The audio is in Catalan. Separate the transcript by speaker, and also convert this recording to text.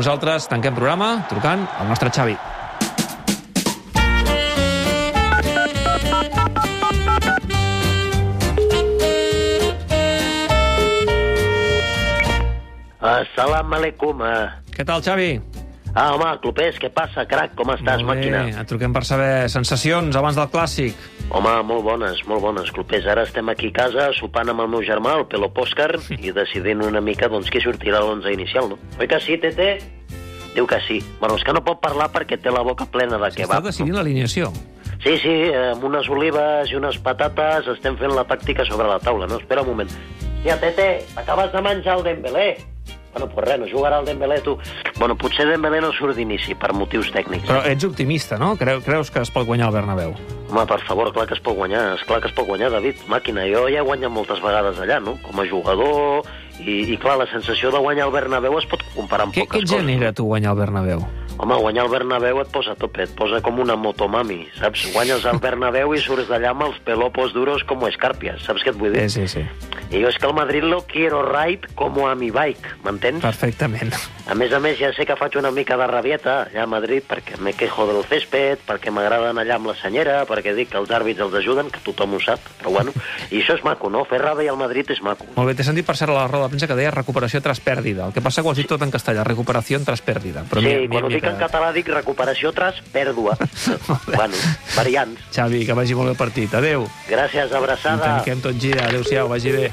Speaker 1: Nosaltres tanquem programa trucant al nostre Xavi.
Speaker 2: Assalam alaikum. eh.
Speaker 1: Què tal, Xavi?
Speaker 2: Ah, home, Clopés, què passa, crac? Com estàs,
Speaker 1: Molt bé,
Speaker 2: màquina?
Speaker 1: Et truquem per saber sensacions abans del clàssic.
Speaker 2: Home, molt bones, molt bones, Clopés. Ara estem aquí a casa sopant amb el meu germà, el Pelo Pòscar, i decidint una mica doncs, qui sortirà a l'11 inicial, no? Oi que sí, Tete? Diu que sí. Bueno, és que no pot parlar perquè té la boca plena de
Speaker 1: Està
Speaker 2: kebab.
Speaker 1: decidint l'alineació.
Speaker 2: Sí, sí, eh, amb unes olives i unes patates estem fent la tàctica sobre la taula, no? Espera un moment. Hòstia, Tete, acabes de menjar el Dembélé. Bueno, pues res, no jugarà el Dembélé, tu. Bueno, potser Dembélé no surt d'inici, per motius tècnics.
Speaker 1: Però ets optimista, no? Creu, creus que es pot guanyar el Bernabéu?
Speaker 2: Home, per favor, clar que es pot guanyar, és clar que es pot guanyar, David. Màquina, jo ja he guanyat moltes vegades allà, no? Com a jugador, i, i clar, la sensació de guanyar el Bernabéu es pot comparar amb
Speaker 1: Què, què
Speaker 2: poques
Speaker 1: et
Speaker 2: coses.
Speaker 1: genera, tu, guanyar el Bernabéu?
Speaker 2: Home, guanyar el Bernabéu et posa a tope, et posa com una motomami, saps? Guanyes el Bernabéu i surts d'allà amb els pelopos duros com escàrpies, saps què et vull dir?
Speaker 1: Sí, sí, sí.
Speaker 2: I jo és que el Madrid lo quiero ride como a mi bike, m'entens?
Speaker 1: Perfectament.
Speaker 2: A més a més, ja sé que faig una mica de rabieta allà a Madrid perquè me quejo del césped, perquè m'agraden allà amb la senyera, perquè dic que els àrbits els ajuden, que tothom ho sap, però bueno. I això és maco, no? Fer ràbia al Madrid és maco.
Speaker 1: Molt bé, t'he sentit per cert a la roda de premsa que deia recuperació tras pérdida. El que passa que ho has dit tot en castellà, recuperació tras pérdida. Però
Speaker 2: sí,
Speaker 1: mira,
Speaker 2: i
Speaker 1: mira,
Speaker 2: quan ho dic
Speaker 1: mira.
Speaker 2: en català dic recuperació tras pèrdua. bueno, variants.
Speaker 1: Xavi, que vagi molt bé el partit. Adéu.
Speaker 2: Gràcies, abraçada.
Speaker 1: Tanquem tot gira. Adéu-siau, vagi bé.